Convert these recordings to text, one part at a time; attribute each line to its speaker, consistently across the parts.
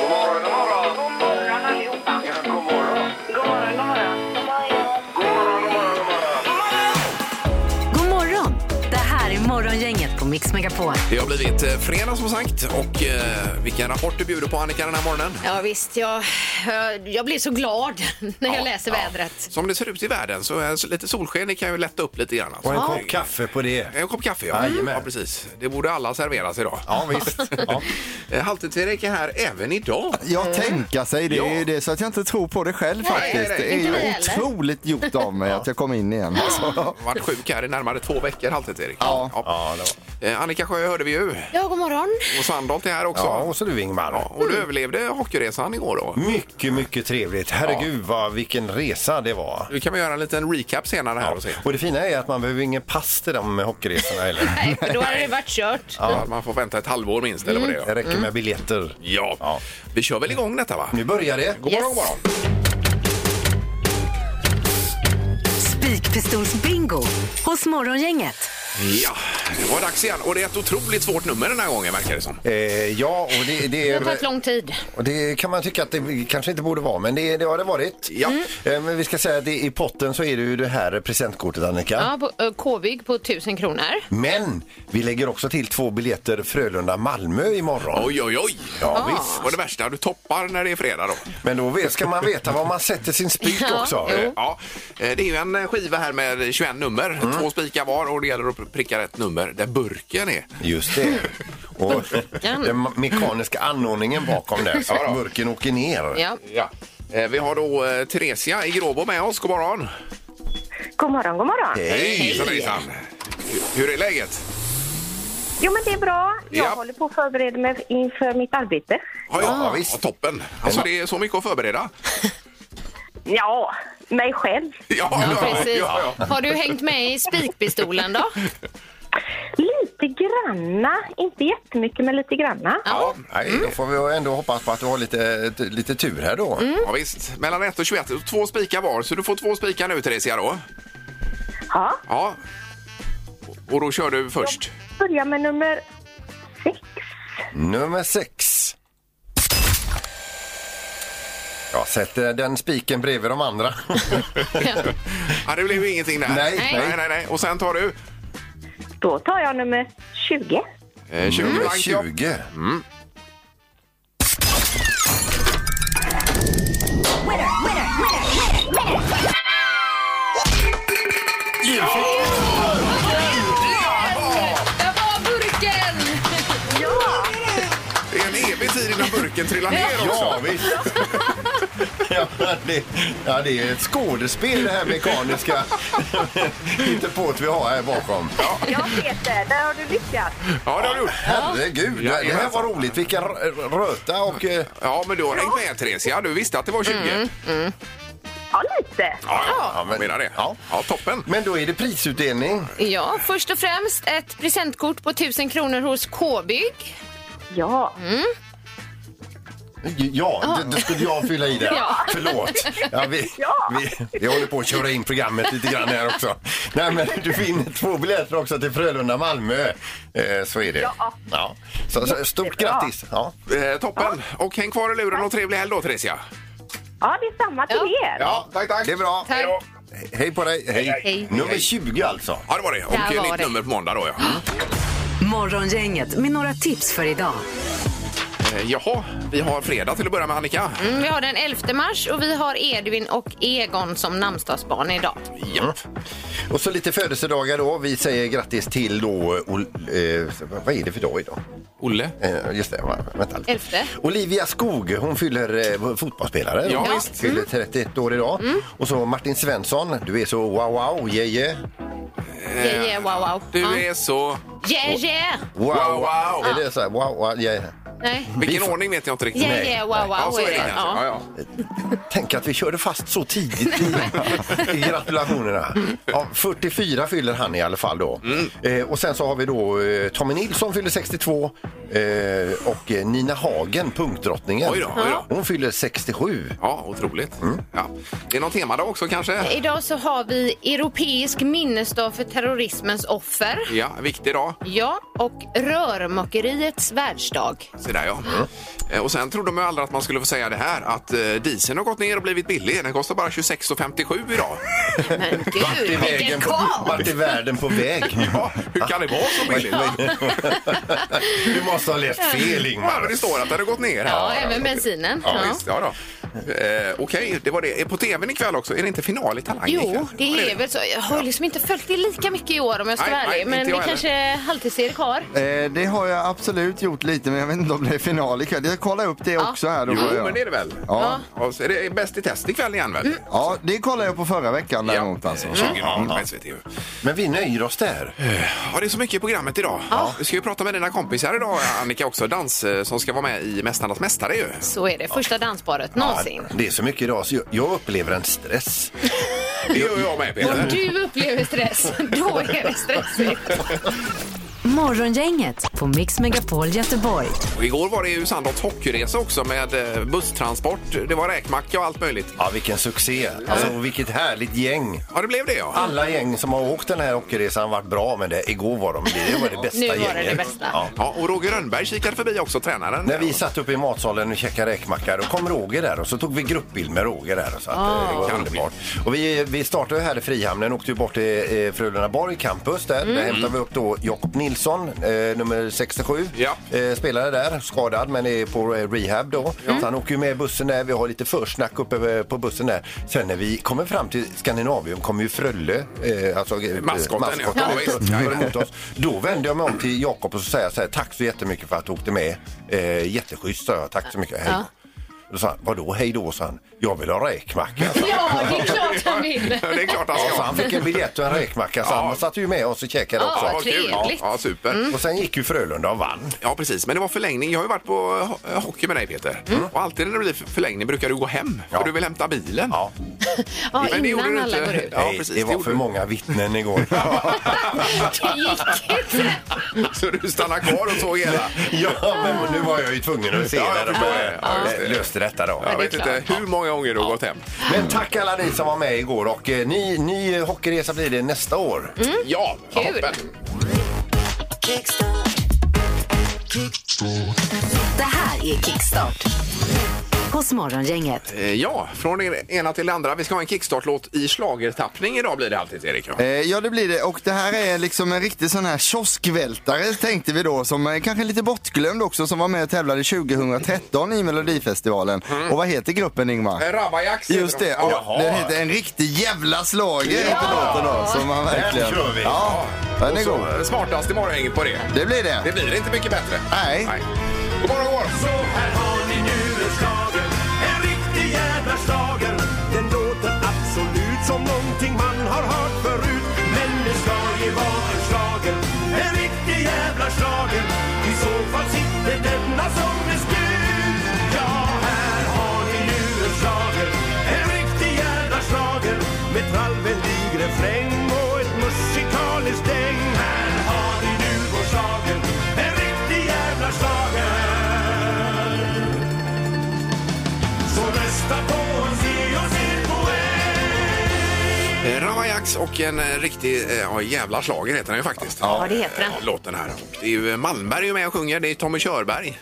Speaker 1: God morgon, god morgon.
Speaker 2: God morgon allihopa.
Speaker 1: Ja, god morgon.
Speaker 2: God morgon, god morgon.
Speaker 1: God morgon, god morgon, god morgon.
Speaker 3: God morgon! Det här är Morgongänget på Mix Megapol.
Speaker 4: Det har blivit eh, fredag som sagt och eh, vilken rapport du bjuder på Annika den här morgonen.
Speaker 5: Ja visst, jag, Ah, jag blir så glad när jag
Speaker 4: Ja,
Speaker 5: läser
Speaker 4: ja.
Speaker 5: vädret.
Speaker 4: Som det ser ut i världen så är lite solsken det kan ju lätta upp lite grann. Alltså.
Speaker 6: Och en kopp kaffe på det.
Speaker 4: En kopp kaffe ja.
Speaker 6: Jajamän.
Speaker 4: ja precis. Det borde alla serveras idag.
Speaker 6: Ja, visst. Ja.
Speaker 4: Eh, Halvtids-Erik är här även idag.
Speaker 7: Jag tänka sig, det är
Speaker 4: Ja.
Speaker 7: ju det så att jag inte tror på det själv faktiskt.
Speaker 4: nej, nej.
Speaker 7: Det är
Speaker 5: Inte vi
Speaker 7: ju
Speaker 5: heller.
Speaker 7: otroligt gjort av mig att jag kom in igen. Alltså.
Speaker 4: Varit sjuk här i närmare två veckor Halvtids-Erik.
Speaker 7: Ja.
Speaker 6: Ja, det var.
Speaker 4: Eh, Annika Sjö hörde vi ju
Speaker 5: Ja, god morgon.
Speaker 4: och Sandholt är här också.
Speaker 6: ja, och så du Ingmar.
Speaker 4: Och du överlevde hockeyresan igår då.
Speaker 6: Mycket, mycket trevligt. Herregud, vad, vilken resa det var.
Speaker 4: Nu kan vi göra en liten recap senare här och se.
Speaker 6: Och det fina är att man behöver ingen pass till de hockeyresorna heller.
Speaker 5: Nej, för då hade det varit kört.
Speaker 4: Ja, Man får vänta ett halvår minst eller vad
Speaker 5: Mm.
Speaker 4: det
Speaker 6: Det
Speaker 4: är.
Speaker 6: räcker med biljetter.
Speaker 4: Ja.
Speaker 6: Ja.
Speaker 4: vi kör väl igång detta va?
Speaker 6: Nu börjar det.
Speaker 4: God morgon, god morgon.
Speaker 3: Spikpistolsbingo hos Morgongänget.
Speaker 4: Ja, det var dags igen. Och det är ett otroligt svårt nummer den här gången verkar det som.
Speaker 6: Eh, ja, och det, det,
Speaker 5: Det har tagit
Speaker 6: är,
Speaker 5: lång tid.
Speaker 6: och det kan man tycka att det kanske inte borde vara, men det, det har det varit.
Speaker 4: Ja.
Speaker 5: Mm.
Speaker 6: Eh, men vi ska säga att det, i potten så är det ju det här presentkortet, Annika.
Speaker 5: Ja, på, eh, K-bygg på 1000 kronor.
Speaker 6: Men vi lägger också till två biljetter Frölunda-Malmö imorgon.
Speaker 4: Oj, oj, oj!
Speaker 6: Ja,
Speaker 4: visst. Och det värsta, du toppar när det är fredag då.
Speaker 6: Men då vet- ska man veta var man sätter sin spik
Speaker 5: Ja,
Speaker 6: också.
Speaker 5: jo.
Speaker 4: Ja, eh, det är ju en skiva här med 21 nummer, två spikar var och det gäller att pricka rätt nummer där burken är.
Speaker 6: Just det. Och
Speaker 5: Mm.
Speaker 6: den mekaniska anordningen bakom där, så
Speaker 4: Ja då.
Speaker 6: att burken åker ner.
Speaker 5: Ja.
Speaker 4: Ja. Eh, Vi har då eh, Theresia i Gråbo med oss. God morgon!
Speaker 2: God morgon, god morgon.
Speaker 6: Hej!
Speaker 4: Hejsan, hejsan! Hur- Hur är läget?
Speaker 2: Jo, men det är bra. Jag
Speaker 4: Ja.
Speaker 2: håller på att förbereda mig inför mitt arbete.
Speaker 4: Ja, ja,
Speaker 6: Ah.
Speaker 4: visst. toppen! Alltså det är så mycket att förbereda.
Speaker 2: Ja, mig själv.
Speaker 4: Ja,
Speaker 5: Ja, precis.
Speaker 4: ja, ja.
Speaker 5: Har du hängt med i spikpistolen då?
Speaker 2: Lite granna. Inte jättemycket, men lite granna.
Speaker 6: Ja, nej, då får vi ändå hoppas på att du har lite, lite tur här då.
Speaker 5: Mm.
Speaker 4: ja visst. Mellan 1 och 21, två spikar var. Så du får två spikar nu Theresia då.
Speaker 2: Ja,
Speaker 4: Ja. Och då kör du först.
Speaker 2: börja med nummer sex.
Speaker 6: Nummer sex. Jag sätter eh, den spiken bredvid de andra.
Speaker 4: Mm. Ja, det blev ju ingenting där.
Speaker 6: Nej,
Speaker 5: Nej.
Speaker 4: nej, nej, nej. Och sen tar du?
Speaker 2: Då tar jag nummer 20.
Speaker 4: Eh, 20
Speaker 6: Nummer Mm.
Speaker 4: blankt, ja.
Speaker 6: 20.
Speaker 5: Där var burken!
Speaker 4: Det är en evig tid innan burken trillar ner också.
Speaker 6: Ja, visst. ja, det, ja, det är ett skådespel det här mekaniska inte på att vi har här bakom.
Speaker 2: Ja, Peter, där har du lyckats.
Speaker 4: Ja, det har du gjort.
Speaker 6: Herregud,
Speaker 4: Ja,
Speaker 6: det här var roligt. Vilken r- röta och... eh,
Speaker 4: Ja, men du har hängt med Theresia. Du visste att det var 20.
Speaker 5: Mm.
Speaker 2: Ja, lite.
Speaker 4: Ja, ja,
Speaker 6: Ja, men-
Speaker 4: jag menar det. Ja.
Speaker 6: Ja.
Speaker 4: toppen.
Speaker 6: Men då är det prisutdelning.
Speaker 5: Ja, först och främst ett presentkort på 1000 kronor hos K-bygg.
Speaker 2: Ja.
Speaker 6: Ja, det, det skulle jag fylla i där.
Speaker 5: Ja.
Speaker 6: Förlåt. Ja, vi,
Speaker 2: Ja.
Speaker 6: vi, vi håller på att köra in programmet lite grann här också. Nej, men du vinner två biljetter också till Frölunda-Malmö. Eh, så är det.
Speaker 2: Ja.
Speaker 6: Ja. Så, så, stort
Speaker 2: Jättebra.
Speaker 6: grattis. Ja.
Speaker 4: Eh, toppen. Och häng kvar i luren och trevlig helg då, Theresia.
Speaker 2: Ja, det är samma till
Speaker 5: Ja.
Speaker 2: er.
Speaker 4: Ja, tack, tack.
Speaker 6: Det är bra.
Speaker 5: Tack.
Speaker 6: He- Hej på dig. Hej.
Speaker 5: Hej.
Speaker 6: Nummer 20 alltså.
Speaker 4: Ja, det var det. Och
Speaker 5: Där var
Speaker 4: nytt
Speaker 5: det. Mm.
Speaker 4: nummer på måndag då, ja.
Speaker 3: Morgongänget med några tips för idag.
Speaker 4: Eh, jaha, vi har fredag till att börja med, Annika.
Speaker 5: Mm, Vi har den 11 mars och vi har Edvin och Egon som namnsdagsbarn idag.
Speaker 4: Ja.
Speaker 6: Mm. Och så lite födelsedagar då. Vi säger grattis till då... Ol- eh, vad är det för dag idag?
Speaker 4: Olle?
Speaker 6: Eh, just det, va- vänta lite.
Speaker 5: Elfte.
Speaker 6: Olivia Skog, hon fyller eh, fotbollsspelare.
Speaker 4: Ja,
Speaker 6: Hon
Speaker 4: visst.
Speaker 6: Fyller 31 år idag. Och så Martin Svensson, du är så wow wow, yeah yeah.
Speaker 5: Yeah, yeah, wow, wow.
Speaker 4: Eh, Du
Speaker 5: Ja.
Speaker 4: är så...
Speaker 5: Yeah, yeah!
Speaker 6: Wow
Speaker 4: Wow, wow.
Speaker 6: Är det så här, wow wow yeah.
Speaker 5: Nej.
Speaker 4: Vilken ordning vet jag inte riktigt.
Speaker 5: Yeah, yeah, wow, wow.
Speaker 4: Ja, så är det kanske.
Speaker 5: Ja.
Speaker 4: Ja, ja.
Speaker 6: Tänk att vi körde fast så tidigt i, i gratulationerna. Ja, 44 fyller han i alla fall då.
Speaker 4: Mm.
Speaker 6: Eh, och sen så har vi då eh, Tommy Nilsson fyller 62 eh, och eh, Nina Hagen, punkdrottningen.
Speaker 4: Oj då, oj då.
Speaker 6: Hon fyller 67.
Speaker 4: Ja, otroligt. Ja. Det är någon temadag också kanske?
Speaker 5: Idag så har vi europeisk minnesdag för terrorismens offer.
Speaker 4: Ja, viktig dag.
Speaker 5: Ja, och rörmokeriets världsdag.
Speaker 4: Så där ja. Eh, Och sen trodde de ju aldrig att man skulle få säga det här att eh, dieseln har gått ner och blivit billig. Den kostar bara 26,57 idag.
Speaker 5: Men gud, vilken
Speaker 6: Vägen på,
Speaker 5: karl!
Speaker 6: vart är världen på väg?
Speaker 4: Ja, hur kan det vara så billigt?
Speaker 6: Du måste ha läst fel,
Speaker 4: Ja, men
Speaker 6: Ingmar.
Speaker 4: det står att den har gått ner.
Speaker 5: Ja, även bensinen.
Speaker 4: Ja,
Speaker 5: Ja.
Speaker 4: visst. Ja, då. Eh, Okej, det var det. Är På tvn ikväll också, är det inte final i Talang ikväll?
Speaker 5: Jo, det
Speaker 4: Ja,
Speaker 5: är väl så. Jag har liksom inte följt det lika mycket i år om jag ska
Speaker 4: Nej,
Speaker 5: vara
Speaker 4: nej,
Speaker 5: ärlig. Men
Speaker 4: inte
Speaker 5: det
Speaker 4: jag
Speaker 5: kanske Halvtids-Erik har.
Speaker 7: Eh, det har jag absolut gjort lite, men jag vet inte om det är final ikväll. Jag kollar upp det också här. Då
Speaker 4: Jo,
Speaker 7: jag.
Speaker 4: men det är det väl?
Speaker 7: Ja.
Speaker 4: Ja, så är det Bäst i test ikväll igen
Speaker 5: Mm.
Speaker 4: väl?
Speaker 7: ja, det kollade jag på förra veckan däremot alltså.
Speaker 4: Eh, 20 mm. på SVT.
Speaker 6: Men vi nöjer oss där.
Speaker 4: Ja, det är så mycket i programmet idag. Vi ska ju prata med dina kompisar idag, Annika också. Dans eh, som ska vara med i Mästarnas mästare ju.
Speaker 5: Så är det. Första dansparet någonsin.
Speaker 6: Det är så mycket idag, så jag- jag upplever en stress.
Speaker 4: Det gör jag med
Speaker 5: Om
Speaker 4: Peter.
Speaker 5: du upplever stress, då är det stressigt.
Speaker 3: Morgongänget på Mix Megapol Göteborg.
Speaker 4: Och igår var det ju Sandholt hockeyresa också med eh, busstransport. Det var räkmacka och allt möjligt.
Speaker 6: Ja, vilken succé. Alltså, vilket härligt gäng.
Speaker 4: Ja, det blev det ja.
Speaker 6: Alla gäng som har åkt den här hockeyresan har varit bra, men det, igår var de det. var det bästa
Speaker 5: Nu var det
Speaker 6: gänget.
Speaker 5: det bästa.
Speaker 6: Ja.
Speaker 4: ja och Roger Rönnberg kikade förbi också, tränaren.
Speaker 6: När vi satt uppe i matsalen och käkade räkmacka, då kom Roger där och så tog vi gruppbild med Roger där. Så att, eh, det var
Speaker 4: Kanon.
Speaker 6: underbart. Och vi, vi startade ju här i Frihamnen, åkte ju bort till eh, Frölunda Borg campus där.
Speaker 4: Mm.
Speaker 6: Där hämtade vi upp då Jakob Nilsson, eh, nummer 67.
Speaker 4: Ja.
Speaker 6: Eh, spelare där, skadad men är på eh, rehab då. Så han åker ju med i bussen där, vi har lite försnack uppe eh, på bussen där. Sen när vi kommer fram till Skandinavien kommer ju Frölle, eh, alltså eh,
Speaker 4: Maskoten, ja.
Speaker 6: maskoten
Speaker 4: Ja,
Speaker 6: ut-
Speaker 4: visst. Ja, ja.
Speaker 6: ut- emot oss. Då vände jag mig om till Jakob och så säger jag så här, tack så jättemycket för att du åkte med. Eh, jätteschysst sa jag, tack så mycket, hej.
Speaker 5: Ja.
Speaker 6: Då sa han, vadå hej då, sa han, jag vill ha räkmacka. sa han.
Speaker 5: Ja, det är klart han vill.
Speaker 4: Ja, det är klart han
Speaker 6: Ja,
Speaker 4: ska.
Speaker 6: så han fick en biljett och en räkmacka, så
Speaker 4: Ja.
Speaker 6: han satt ju med oss och käkade
Speaker 5: Ja,
Speaker 6: också.
Speaker 5: vad
Speaker 4: kul. Ja,
Speaker 5: trevligt. Mm.
Speaker 4: ja, super.
Speaker 6: Och sen gick ju Frölunda och vann.
Speaker 4: Ja, precis. Men det var förlängning. Jag har ju varit på ho- hockey med dig, Peter. Och alltid när det blir förlängning brukar du gå hem,
Speaker 6: Ja.
Speaker 4: för du vill hämta bilen.
Speaker 6: Ja,
Speaker 5: Ja,
Speaker 4: Men det gjorde
Speaker 5: innan
Speaker 4: du
Speaker 5: alla
Speaker 4: inte.
Speaker 5: går ut.
Speaker 4: Ja,
Speaker 6: nej,
Speaker 4: precis,
Speaker 6: det
Speaker 4: det
Speaker 6: var
Speaker 4: gjorde
Speaker 6: för
Speaker 4: du.
Speaker 6: många vittnen igår.
Speaker 5: Det gick inte.
Speaker 4: Så du stannar kvar och såg hela.
Speaker 6: ja, men nu var jag ju tvungen att se
Speaker 4: Ja, jag
Speaker 6: när de
Speaker 4: förstår det. Ja, just det.
Speaker 6: eh, löste detta då.
Speaker 4: Jag vet inte hur många gånger du har gått hem.
Speaker 6: Men tack alla ni som var med igår och eh, ny, ny hockeyresa blir det nästa år.
Speaker 5: Mm.
Speaker 4: Ja,
Speaker 5: Kul.
Speaker 4: toppen.
Speaker 3: Det här är Kickstart hos Morgongänget.
Speaker 4: Eh, Ja, från det ena till det andra. Vi ska ha en kickstartlåt i schlagertappning idag blir det alltid, Erik. Ja.
Speaker 7: Eh, Ja, det blir det. Och det här är liksom en riktig sån här kioskvältare tänkte vi då, som är kanske lite bortglömd också, som var med och tävlade 2013 i Melodifestivalen. Och vad heter gruppen Ingmar?
Speaker 4: Mm. Eh, Rabajax heter
Speaker 7: Just
Speaker 4: de.
Speaker 7: det,
Speaker 4: Ja.
Speaker 7: och den heter En riktig jävla slager heter låten då. Som man verkligen...
Speaker 6: kör vi.
Speaker 7: Ja, den
Speaker 4: Och
Speaker 7: är
Speaker 4: så,
Speaker 7: god.
Speaker 4: eh, Smartast i morgongänget på det.
Speaker 7: Det blir
Speaker 4: Det
Speaker 7: det.
Speaker 4: blir inte mycket bättre.
Speaker 7: Nej.
Speaker 4: God morgon, god morgon.
Speaker 8: Här har ni nu en slager, en riktig jävla slager. Den låter absolut som någonting man har hört förut. Men det ska ju vara en slager, en riktig jävla slager. I så fall sitter denna som en spjut. Ja, här har ni nu en slager, en riktig jävla slager. Med trallvänlig refräng och ett musikaliskt däng. Här har ni nu vår slager, en riktig jävla slager. Så rösta på oss, ge oss er poäng
Speaker 4: Eh, Ravajax och en eh, riktig eh, ja, jävla slager heter den ju faktiskt.
Speaker 3: Ja, det heter den.
Speaker 4: Ja, Låten här. Och det är ju eh, Malmberg är med och sjunger. Det är Tommy Körberg.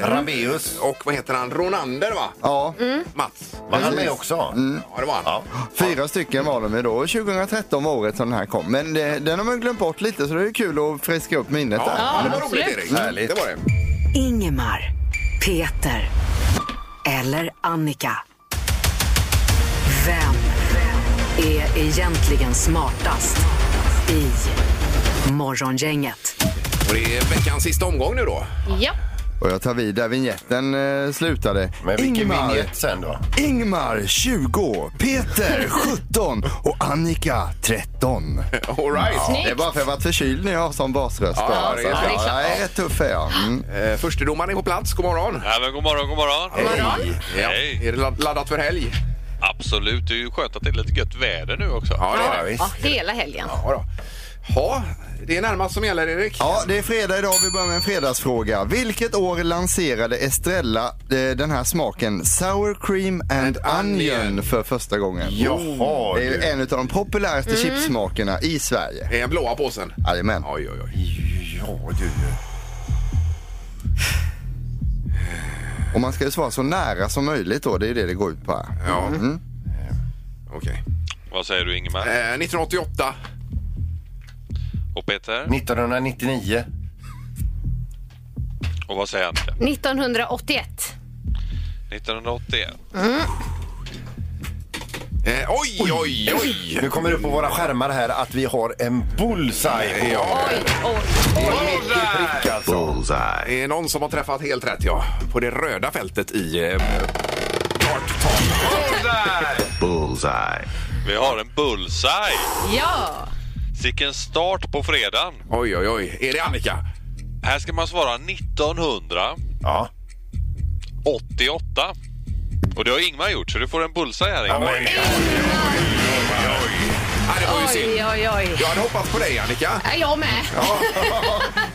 Speaker 6: Rabeus
Speaker 4: Och vad heter han? Ronander, va?
Speaker 7: Mm. Ja,
Speaker 4: Mm. Mats.
Speaker 6: var han med också.
Speaker 4: Ja, det var han.
Speaker 6: Ja.
Speaker 7: fyra stycken var de ju då. Och 2013 var året som den här kom. Men det, den har man glömt bort lite, så det är kul att friska upp minnet
Speaker 4: Ja,
Speaker 7: där.
Speaker 4: det var roligt,
Speaker 5: absolut.
Speaker 4: Erik.
Speaker 6: Härligt.
Speaker 4: Det var det.
Speaker 3: Ingemar, Peter eller Annika. Vem är egentligen smartast i Morgongänget?
Speaker 4: Och det är veckans sista omgång nu då.
Speaker 5: Ja,
Speaker 7: Och jag tar vid där vignetten eh, slutade.
Speaker 6: Men vilken
Speaker 7: Ingmar,
Speaker 6: vignett sen då?
Speaker 7: Ingmar 20, Peter 17 och Annika 13.
Speaker 4: All right.
Speaker 7: Det är bara för att jag varit förkyld när jag har sån basröst.
Speaker 4: Ja,
Speaker 7: då,
Speaker 4: ja, det är
Speaker 7: alltså.
Speaker 4: klart.
Speaker 7: jag är rätt tuff är jag. Mm.
Speaker 4: Eh, Förstedomaren är på plats. God morgon.
Speaker 9: Ja, men god morgon, god morgon.
Speaker 4: Hej. Ja.
Speaker 9: Hej.
Speaker 4: Är det ladd- laddat för helg?
Speaker 9: Absolut, det är ju skönt att det är lite gött väder nu också.
Speaker 4: Ja, det är det.
Speaker 5: ja hela helgen.
Speaker 4: Ja, då. Ja, det är närmast som gäller, Erik.
Speaker 7: Ja, det är fredag idag. Vi börjar med en fredagsfråga. Vilket år lanserade Estrella eh, den här smaken sour cream
Speaker 4: And
Speaker 7: and,
Speaker 4: onion.
Speaker 7: onion, för första gången? Oh.
Speaker 6: Jaha,
Speaker 7: det är ju
Speaker 6: du.
Speaker 7: en av de populäraste chipssmakerna i Sverige.
Speaker 4: Det är den blåa påsen.
Speaker 7: Jajamän.
Speaker 4: Oj, oj, oj.
Speaker 6: Ja, du.
Speaker 7: Och man ska ju svara så nära som möjligt då, det är ju det det går ut på här.
Speaker 4: Ja. Eh, Okej.
Speaker 9: Vad säger du Ingemar?
Speaker 4: Eh, 1988.
Speaker 9: Och Peter?
Speaker 6: 1999.
Speaker 9: Och vad säger Annika?
Speaker 5: 1981.
Speaker 9: 1981.
Speaker 4: Eh, oj, oj, oj!
Speaker 6: Nu kommer det upp på våra skärmar här att vi har en bullseye på.
Speaker 4: Ja,
Speaker 5: Oj, oj.
Speaker 6: Mycket prick alltså.
Speaker 4: det är någon som har träffat helt rätt, ja. På det röda fältet i... Eh, Dart Tom.
Speaker 9: Vi har en bullseye!
Speaker 5: Ja!
Speaker 9: Sicken start på fredagen.
Speaker 4: Oj, oj, oj. Är det Annika?
Speaker 9: Här ska man svara 1988.
Speaker 6: Ja.
Speaker 9: Och det har Ingmar gjort, så du får en bullseye här
Speaker 6: Ja,
Speaker 9: Ingmar.
Speaker 6: men-
Speaker 4: Nej, det var ju synd.
Speaker 5: Oj, oj, oj.
Speaker 4: Jag hade hoppats på dig, Annika.
Speaker 5: Ja, Jag med.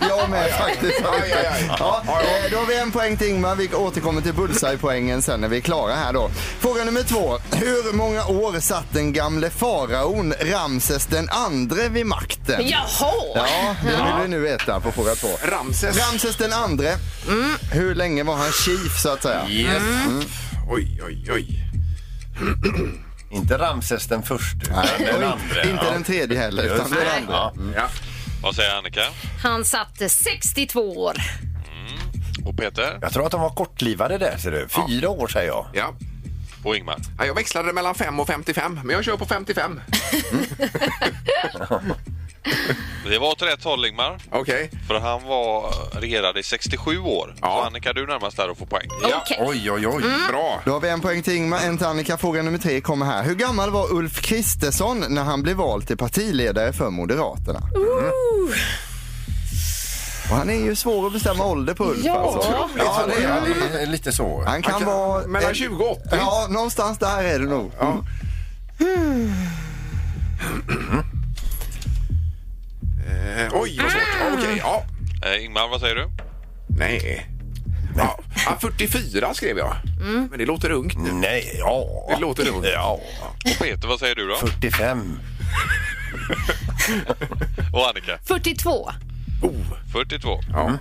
Speaker 7: Jag med faktiskt.
Speaker 4: Aj, aj, aj.
Speaker 7: Ja, eh, då har vi en poäng till Ingmar. Vi återkommer till bullseye-poängen sen när vi är klara här då. Fråga nummer två. Hur många år satt den gamle faraon Ramses den andre vid makten?
Speaker 5: Jaha!
Speaker 7: Ja, det vill vi nu veta på fråga två.
Speaker 4: Ramses.
Speaker 7: Ramses den andre. Hur länge var han chief så att säga?
Speaker 4: Yes. Oj, oj, oj.
Speaker 6: Inte Ramses den första, utan den andra.
Speaker 7: Inte den tredje heller,
Speaker 6: Just
Speaker 7: utan den
Speaker 6: det.
Speaker 7: andra.
Speaker 6: Ja.
Speaker 4: Mm, Ja.
Speaker 9: Vad säger Annika?
Speaker 5: Han satt 62 år.
Speaker 9: Och Peter?
Speaker 6: Jag tror att de var kortlivade där, ser du. Fyra år säger jag.
Speaker 4: Ja.
Speaker 9: Och Ingmar?
Speaker 4: Ja, Jag växlade mellan 5 och 55, men jag kör på 55.
Speaker 9: Det var åt rätt håll Ingmar.
Speaker 4: Okej.
Speaker 9: För han var regerade i 67 år.
Speaker 4: Ja.
Speaker 9: Så Annika, du är närmast där och får poäng.
Speaker 4: Ja.
Speaker 5: Okej.
Speaker 6: Oj, oj, oj.
Speaker 4: Bra.
Speaker 7: Då har vi en poäng till Ingmar, en till Annika. Fråga nummer tre kommer här. Hur gammal var Ulf Kristersson när han blev vald till partiledare för Moderaterna? Och han är ju svår att bestämma ålder på Ulf alltså.
Speaker 6: Ja, det är, det är lite så.
Speaker 7: Han kan,
Speaker 4: Han kan-
Speaker 7: vara...
Speaker 4: mellan
Speaker 7: en-
Speaker 4: 20 och 80.
Speaker 7: Ja, någonstans där är det nog. Mm.
Speaker 4: Eh, oj, vad svårt. Okej, ja.
Speaker 9: Eh, Ingmar, vad säger du?
Speaker 4: Nej. Ja. Ja, 44 skrev jag. Men det låter ungt.
Speaker 6: Nej, ja.
Speaker 4: Det låter ungt.
Speaker 6: Ja.
Speaker 9: Och Peter, vad säger du då?
Speaker 6: 45.
Speaker 9: Och Annika?
Speaker 5: 42.
Speaker 4: Oh.
Speaker 9: 42.
Speaker 4: Ja.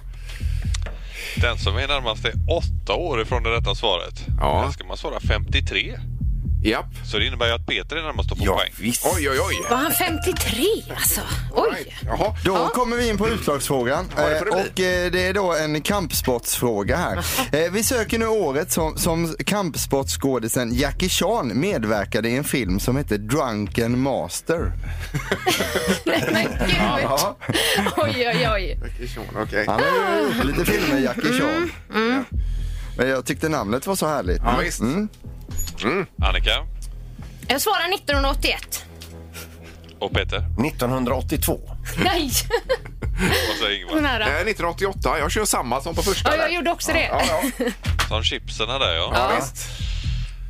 Speaker 9: Den som är närmast är 8 år ifrån det rätta svaret.
Speaker 4: Ja.
Speaker 9: Här ska man svara 53.
Speaker 4: Japp.
Speaker 9: Så det innebär ju att Peter är närmast att få
Speaker 6: Ja,
Speaker 9: poäng.
Speaker 6: visst.
Speaker 4: Oj, oj, oj.
Speaker 5: Var han 53 alltså? Oj!
Speaker 4: Jaha.
Speaker 7: Då kommer vi in på utslagsfrågan.
Speaker 4: Ja, det får det
Speaker 7: Eh, och eh, det är då en kampsportsfråga här. Eh, Vi söker nu året som, som kampsportsskådisen Jackie Chan medverkade i en film som hette Drunken Master.
Speaker 5: Men gud! Oj, oj, oj.
Speaker 4: Okej.
Speaker 7: Han har ju gjort lite filmer, Jackie Chan. Men jag tyckte namnet var så härligt. Mm.
Speaker 4: Ja, visst.
Speaker 9: Annika
Speaker 5: Jag svarar 1981.
Speaker 9: och Peter.
Speaker 6: 1982.
Speaker 5: Nej!
Speaker 9: Vad säger
Speaker 5: Så
Speaker 9: Ingvar?
Speaker 4: Eh,
Speaker 5: nära.
Speaker 4: 1988. Jag kör samma som på första.
Speaker 5: Ja, jag
Speaker 4: där.
Speaker 5: gjorde också det.
Speaker 4: Ja, ja.
Speaker 9: Som chipserna där ja.
Speaker 4: ja. visst.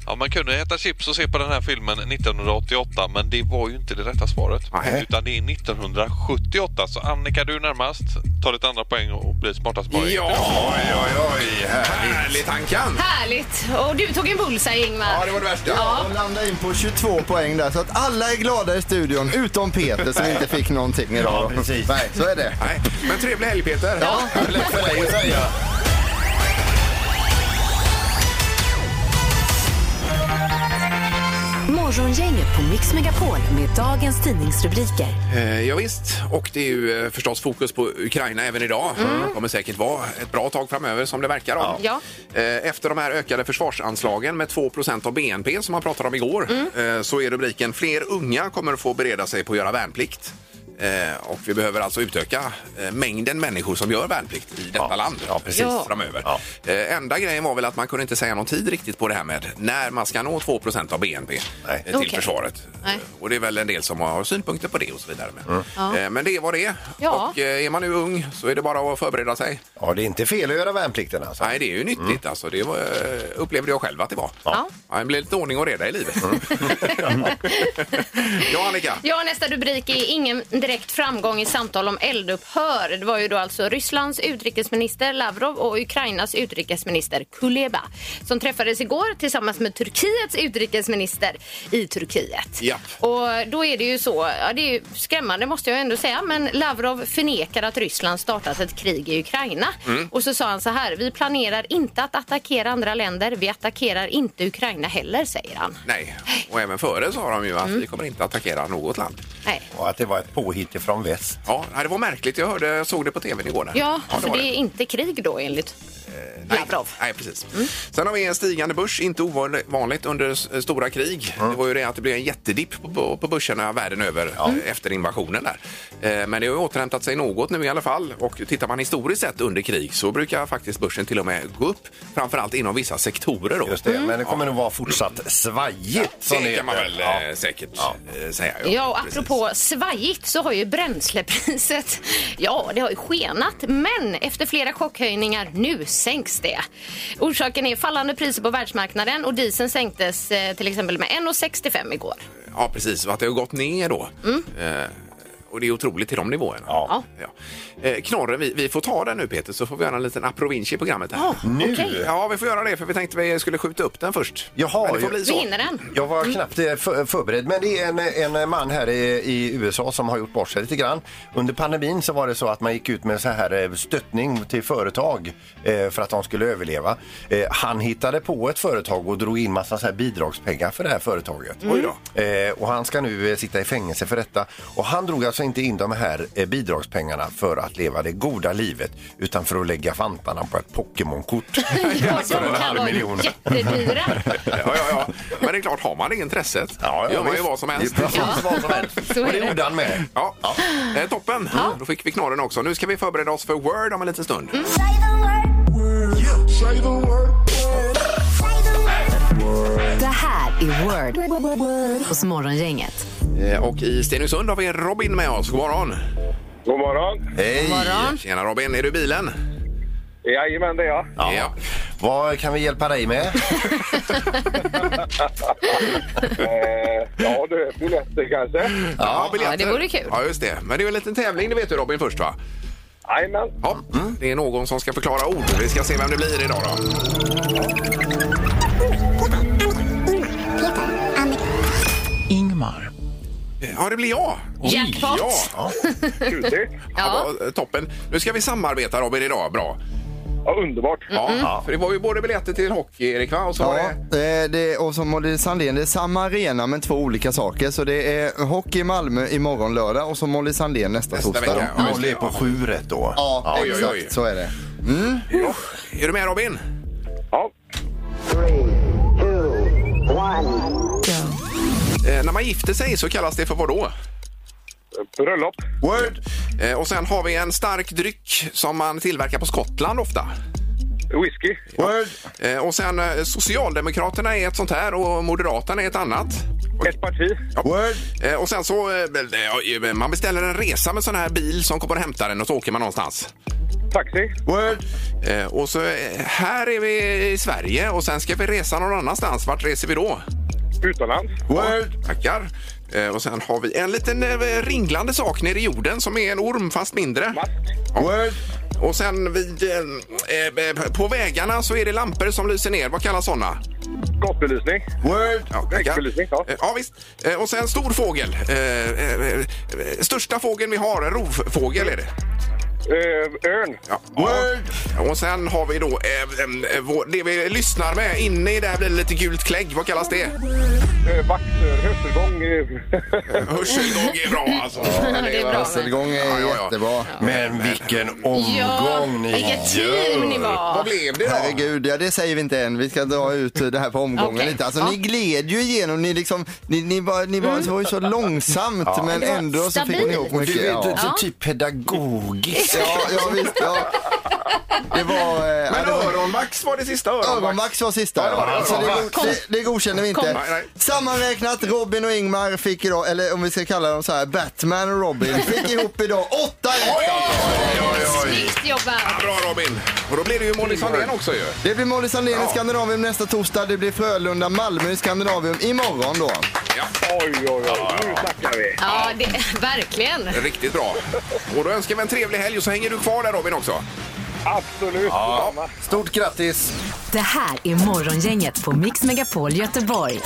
Speaker 9: Ja, man kunde äta chips och se på den här filmen 1988, men det var ju inte det rätta svaret.
Speaker 4: Nej.
Speaker 9: Utan det är 1978. Så Annika, du är närmast. Ta ditt andra poäng och bli smartast bara.
Speaker 4: Ja,
Speaker 6: Oj, oj, oj.
Speaker 4: härligt Hankan.
Speaker 5: Härligt! Och du tog en bullseye,
Speaker 4: Ja,
Speaker 5: Ingmar.
Speaker 4: det var det värsta.
Speaker 7: Ja, och landa in på 22 poäng där så att alla är glada i studion utom Peter som inte fick någonting idag.
Speaker 6: Ja, precis.
Speaker 7: Nej, så är det.
Speaker 4: Nej. Men trevlig helg Peter.
Speaker 7: Ja.
Speaker 6: Lätt för dig att säga.
Speaker 3: Morgongänget på Mix Megapol med dagens tidningsrubriker.
Speaker 4: Eh, Ja, visst. och det är ju eh, förstås fokus på Ukraina även idag.
Speaker 6: Mm.
Speaker 4: Det kommer säkert vara ett bra tag framöver som det verkar. Om.
Speaker 5: Ja.
Speaker 4: Eh, Efter de här ökade försvarsanslagen med 2 av BNP som man pratade om igår
Speaker 6: Mm.
Speaker 4: eh, så är rubriken Fler unga kommer att få bereda sig på att göra värnplikt. Eh, Och vi behöver alltså utöka eh, mängden människor som gör värnplikt i detta
Speaker 6: Ja,
Speaker 4: land
Speaker 6: ja, precis.
Speaker 5: Ja.
Speaker 4: framöver.
Speaker 6: Ja.
Speaker 4: Eh, Enda grejen var väl att man kunde inte säga någon tid riktigt på det här med när man ska nå 2 av BNP
Speaker 6: Nej.
Speaker 4: till
Speaker 5: Okej.
Speaker 4: försvaret.
Speaker 5: Nej.
Speaker 4: Eh, Och det är väl en del som har synpunkter på det och så vidare. Men, eh, men det var det.
Speaker 5: Ja.
Speaker 4: Och eh, är man nu ung så är det bara att förbereda sig.
Speaker 6: Ja, det är inte fel att göra värnplikten alltså.
Speaker 4: Nej, det är ju nyttigt alltså. Det var, eh, upplevde jag själv att det var.
Speaker 5: Ja.
Speaker 4: det blir lite ordning och reda i livet. ja, Annika.
Speaker 5: Ja, nästa rubrik är ingen, direkt framgång i samtal om eldupphör. Det var ju då alltså Rysslands utrikesminister Lavrov och Ukrainas utrikesminister Kuleba som träffades igår tillsammans med Turkiets utrikesminister i Turkiet.
Speaker 4: Ja.
Speaker 5: Och då är det ju så, ja, det är ju skrämmande måste jag ändå säga, men Lavrov förnekar att Ryssland startat ett krig i Ukraina. Och så sa han så här, vi planerar inte att attackera andra länder, vi attackerar inte Ukraina heller, säger han.
Speaker 4: Nej, och även före sa de ju att
Speaker 5: Mm.
Speaker 4: vi kommer inte attackera något land.
Speaker 5: Nej.
Speaker 6: Och att det var ett påhitt från väst.
Speaker 4: Ja, nej, det var märkligt. Jag hörde, såg det på tv igår. Där.
Speaker 5: Ja,
Speaker 4: det
Speaker 5: för
Speaker 4: var
Speaker 5: det är inte krig då enligt
Speaker 4: Nej,
Speaker 5: Lavrov.
Speaker 4: Nej, precis. Sen har vi en stigande börs, inte ovanligt under s- eh, stora krig. Det var ju det att det blev en jättedipp på- på, på börserna världen över
Speaker 5: Mm.
Speaker 4: eh, efter invasionen där. Eh, Men det har ju återhämtat sig något nu i alla fall och tittar man historiskt sett under krig så brukar faktiskt börsen till och med gå upp, framförallt inom vissa sektorer då.
Speaker 6: Just det, men det kommer nog vara fortsatt svajigt. som
Speaker 4: Det kan man
Speaker 6: heter.
Speaker 4: väl
Speaker 6: Ja.
Speaker 4: eh, säkert
Speaker 6: Ja.
Speaker 4: eh, säga.
Speaker 5: Ja, och
Speaker 4: precis.
Speaker 5: apropå svajigt så har ju bränslepriset, ja det har ju skenat, men efter flera chockhöjningar nu sänks det. Orsaken är fallande priser på världsmarknaden och dieseln sänktes eh, till exempel med 1,65 igår.
Speaker 4: Ja, precis. Och att det har gått ner då.
Speaker 5: Mm.
Speaker 4: Eh, och det är otroligt till de nivåerna.
Speaker 6: Ja.
Speaker 4: Eh, knorren, vi, vi får ta den nu Peter, så får vi göra en liten aprovinci i programmet här.
Speaker 6: Nu?
Speaker 5: Okej.
Speaker 4: Ja, vi får göra det, för vi tänkte vi skulle skjuta upp den först.
Speaker 6: Jaha,
Speaker 4: Men det får
Speaker 6: ju-
Speaker 4: bli
Speaker 5: Vi
Speaker 4: så.
Speaker 5: hinner den.
Speaker 6: Jag var knappt eh, för- förberedd, men det är en, en man här i, i USA som har gjort bort sig lite grann. Under pandemin så var det så att man gick ut med så här eh, stöttning till företag eh, för att de skulle överleva. Eh, Han hittade på ett företag och drog in massa så här bidragspengar för det här företaget.
Speaker 4: Oj då.
Speaker 6: Eh, Och han ska nu eh, sitta i fängelse för detta. Och han drog alltså inte in de här eh, bidragspengarna för att leva det goda livet utan för att lägga vantarna på ett Pokémon-kort.
Speaker 5: Ja,
Speaker 6: För en
Speaker 5: de kan
Speaker 6: halv
Speaker 5: vara
Speaker 6: miljon.
Speaker 5: jättedyra. Mm.
Speaker 4: Ja, ja, ja. Men det är klart, har man det intresset
Speaker 6: Ja, ja,
Speaker 4: gör man ju
Speaker 6: visst.
Speaker 4: vad som helst.
Speaker 6: Det är precis vad som helst.
Speaker 5: Så är
Speaker 6: Och det
Speaker 5: det.
Speaker 6: gjorde han med.
Speaker 4: Ja, Eh, toppen. Då fick vi knorren också. Nu ska vi förbereda oss för Word om en liten stund.
Speaker 5: Mm.
Speaker 3: Det här är Word hos Morgongänget.
Speaker 4: Eh, Och i Stenungsund har vi Robin med oss. God morgon.
Speaker 1: God morgon.
Speaker 6: Hej!
Speaker 5: Morgon.
Speaker 4: Tjena Robin, är du i bilen?
Speaker 1: Jajamän, det är jag.
Speaker 4: Ja.
Speaker 6: Vad kan vi hjälpa dig med?
Speaker 1: Eh, ja, du, biljetter kanske?
Speaker 4: Ja, biljetter.
Speaker 5: Ja, det vore kul.
Speaker 4: Ja, just det. Men det är ju en liten tävling, det vet du Robin först va?
Speaker 1: Jajamän.
Speaker 4: Ja,
Speaker 5: Mm.
Speaker 4: Mm. det är någon som ska förklara ord. Vi ska se vem det blir idag då.
Speaker 10: Ingmar.
Speaker 4: Ja, det blir jag.
Speaker 5: Jackpot.
Speaker 4: Ja,
Speaker 1: Tjusigt.
Speaker 4: ja. vad, eh, toppen. Nu ska vi samarbeta Robin idag, bra.
Speaker 1: Ja, underbart.
Speaker 4: Ja, för det var ju både biljetter till hockey Erik va? Och så var
Speaker 7: Ja,
Speaker 4: det...
Speaker 7: eh, det, och som Molly Sandén, det är samma arena men två olika saker. Så det är hockey i Malmö imorgon lördag och så Molly Sandén nästa,
Speaker 4: Nästa
Speaker 7: torsdag.
Speaker 4: vecka.
Speaker 7: Ja,
Speaker 4: just det,
Speaker 6: Molly är på sju rätt då.
Speaker 7: ja
Speaker 4: oj, oj,
Speaker 7: exakt
Speaker 4: oj.
Speaker 7: så är det.
Speaker 4: Är du med Robin?
Speaker 1: Ja.
Speaker 4: Eh, när man gifter sig så kallas det för vad då?
Speaker 1: Bröllop.
Speaker 5: Mm.
Speaker 4: Word. Eh, och sen har vi en stark dryck som man tillverkar på Skottland ofta.
Speaker 1: Whisky.
Speaker 7: Word.
Speaker 4: Eh, och sen eh, Socialdemokraterna är ett sånt här och Moderaterna är ett annat.
Speaker 1: Ett parti.
Speaker 7: Word.
Speaker 4: Eh, Och sen så, eh, eh, man beställer en resa med sån här bil som kommer och hämtar en och så åker man någonstans.
Speaker 1: Taxi.
Speaker 7: Word.
Speaker 4: Eh, Och så eh, här är vi i Sverige och sen ska vi resa någon annanstans. Vart reser vi då?
Speaker 1: Utomlands.
Speaker 7: Word.
Speaker 4: Tackar. Eh, Och sen har vi en liten eh, ringlande sak nere i jorden som är en orm fast mindre.
Speaker 1: Mask.
Speaker 7: Word.
Speaker 4: Och sen vid, eh, eh, eh, på vägarna så är det lampor som lyser ner. Vad kallas sådana?
Speaker 1: Gatubelysning.
Speaker 7: Word.
Speaker 4: Ja, tackar.
Speaker 1: Vägbelysning, ja.
Speaker 4: Eh, Ja, visst. Eh, Och sen stor fågel. Eh, eh, eh, Största fågeln vi har, en rovfågel är det.
Speaker 1: Eh, örn.
Speaker 4: Ja. Och sen har vi då eh, em, eh, vår, det vi lyssnar med. Inne i det här blir det lite gult klägg. Vad kallas det?
Speaker 1: Eh, vakt. eh, Hörselgång. eh,
Speaker 4: Hörselgång är bra alltså. Ja,
Speaker 5: det är bra.
Speaker 7: Hörselgång är
Speaker 4: Ja, ja, ja.
Speaker 7: jättebra.
Speaker 6: Men vilken omgång
Speaker 5: Ja,
Speaker 6: ni
Speaker 5: vilket typ.
Speaker 6: gör!
Speaker 5: team ni var.
Speaker 4: Vad blev det då?
Speaker 7: Herregud, ja, det säger vi inte än. Vi ska dra ut det här på omgången
Speaker 5: Okej.
Speaker 7: lite. Alltså,
Speaker 5: Ja.
Speaker 7: Ni gled ju igenom, ni, liksom, ni, ni, var, ni var, så var ju så långsamt men
Speaker 5: Det var
Speaker 7: ändå så fick ni
Speaker 5: stabilt.
Speaker 7: ihop
Speaker 6: Och
Speaker 7: mycket.
Speaker 6: du är
Speaker 7: Ja.
Speaker 6: så typ pedagogisk.
Speaker 7: Ja, ja, visst, ja. Det var... eh, ja,
Speaker 4: Men
Speaker 7: det var-
Speaker 4: öronvax var det sista öronvax.
Speaker 7: Ögonvax var sista.
Speaker 4: Ja, det var det.
Speaker 7: alltså, det,
Speaker 4: Öronvax.
Speaker 7: go- det, det godkänner vi
Speaker 4: Kom.
Speaker 7: inte.
Speaker 4: Nej, nej.
Speaker 7: Sammanräknat, Robin och Ingmar fick idag, eller om vi ska kalla dem så här, Batman och Robin, fick ihop idag åtta rätt.
Speaker 4: Oj, oj, oj.
Speaker 5: Snyggt jobbat!
Speaker 4: Ja, Bra Robin! Och då blir det ju Molly Sandén också ju.
Speaker 7: Det blir Molly Sandén
Speaker 4: Ja.
Speaker 7: i Skandinavium nästa torsdag, det blir Frölunda, Malmö i Skandinavium imorgon då.
Speaker 4: Ja.
Speaker 1: Oj, oj, oj. Nu snackar vi.
Speaker 5: Ja, det, verkligen.
Speaker 4: Riktigt bra. Och då önskar vi en trevlig helg och så hänger du kvar där Robin också.
Speaker 1: Absolut.
Speaker 4: Ja.
Speaker 6: Stort grattis!
Speaker 3: Det här är Morgongänget på Mix Megapol Göteborg.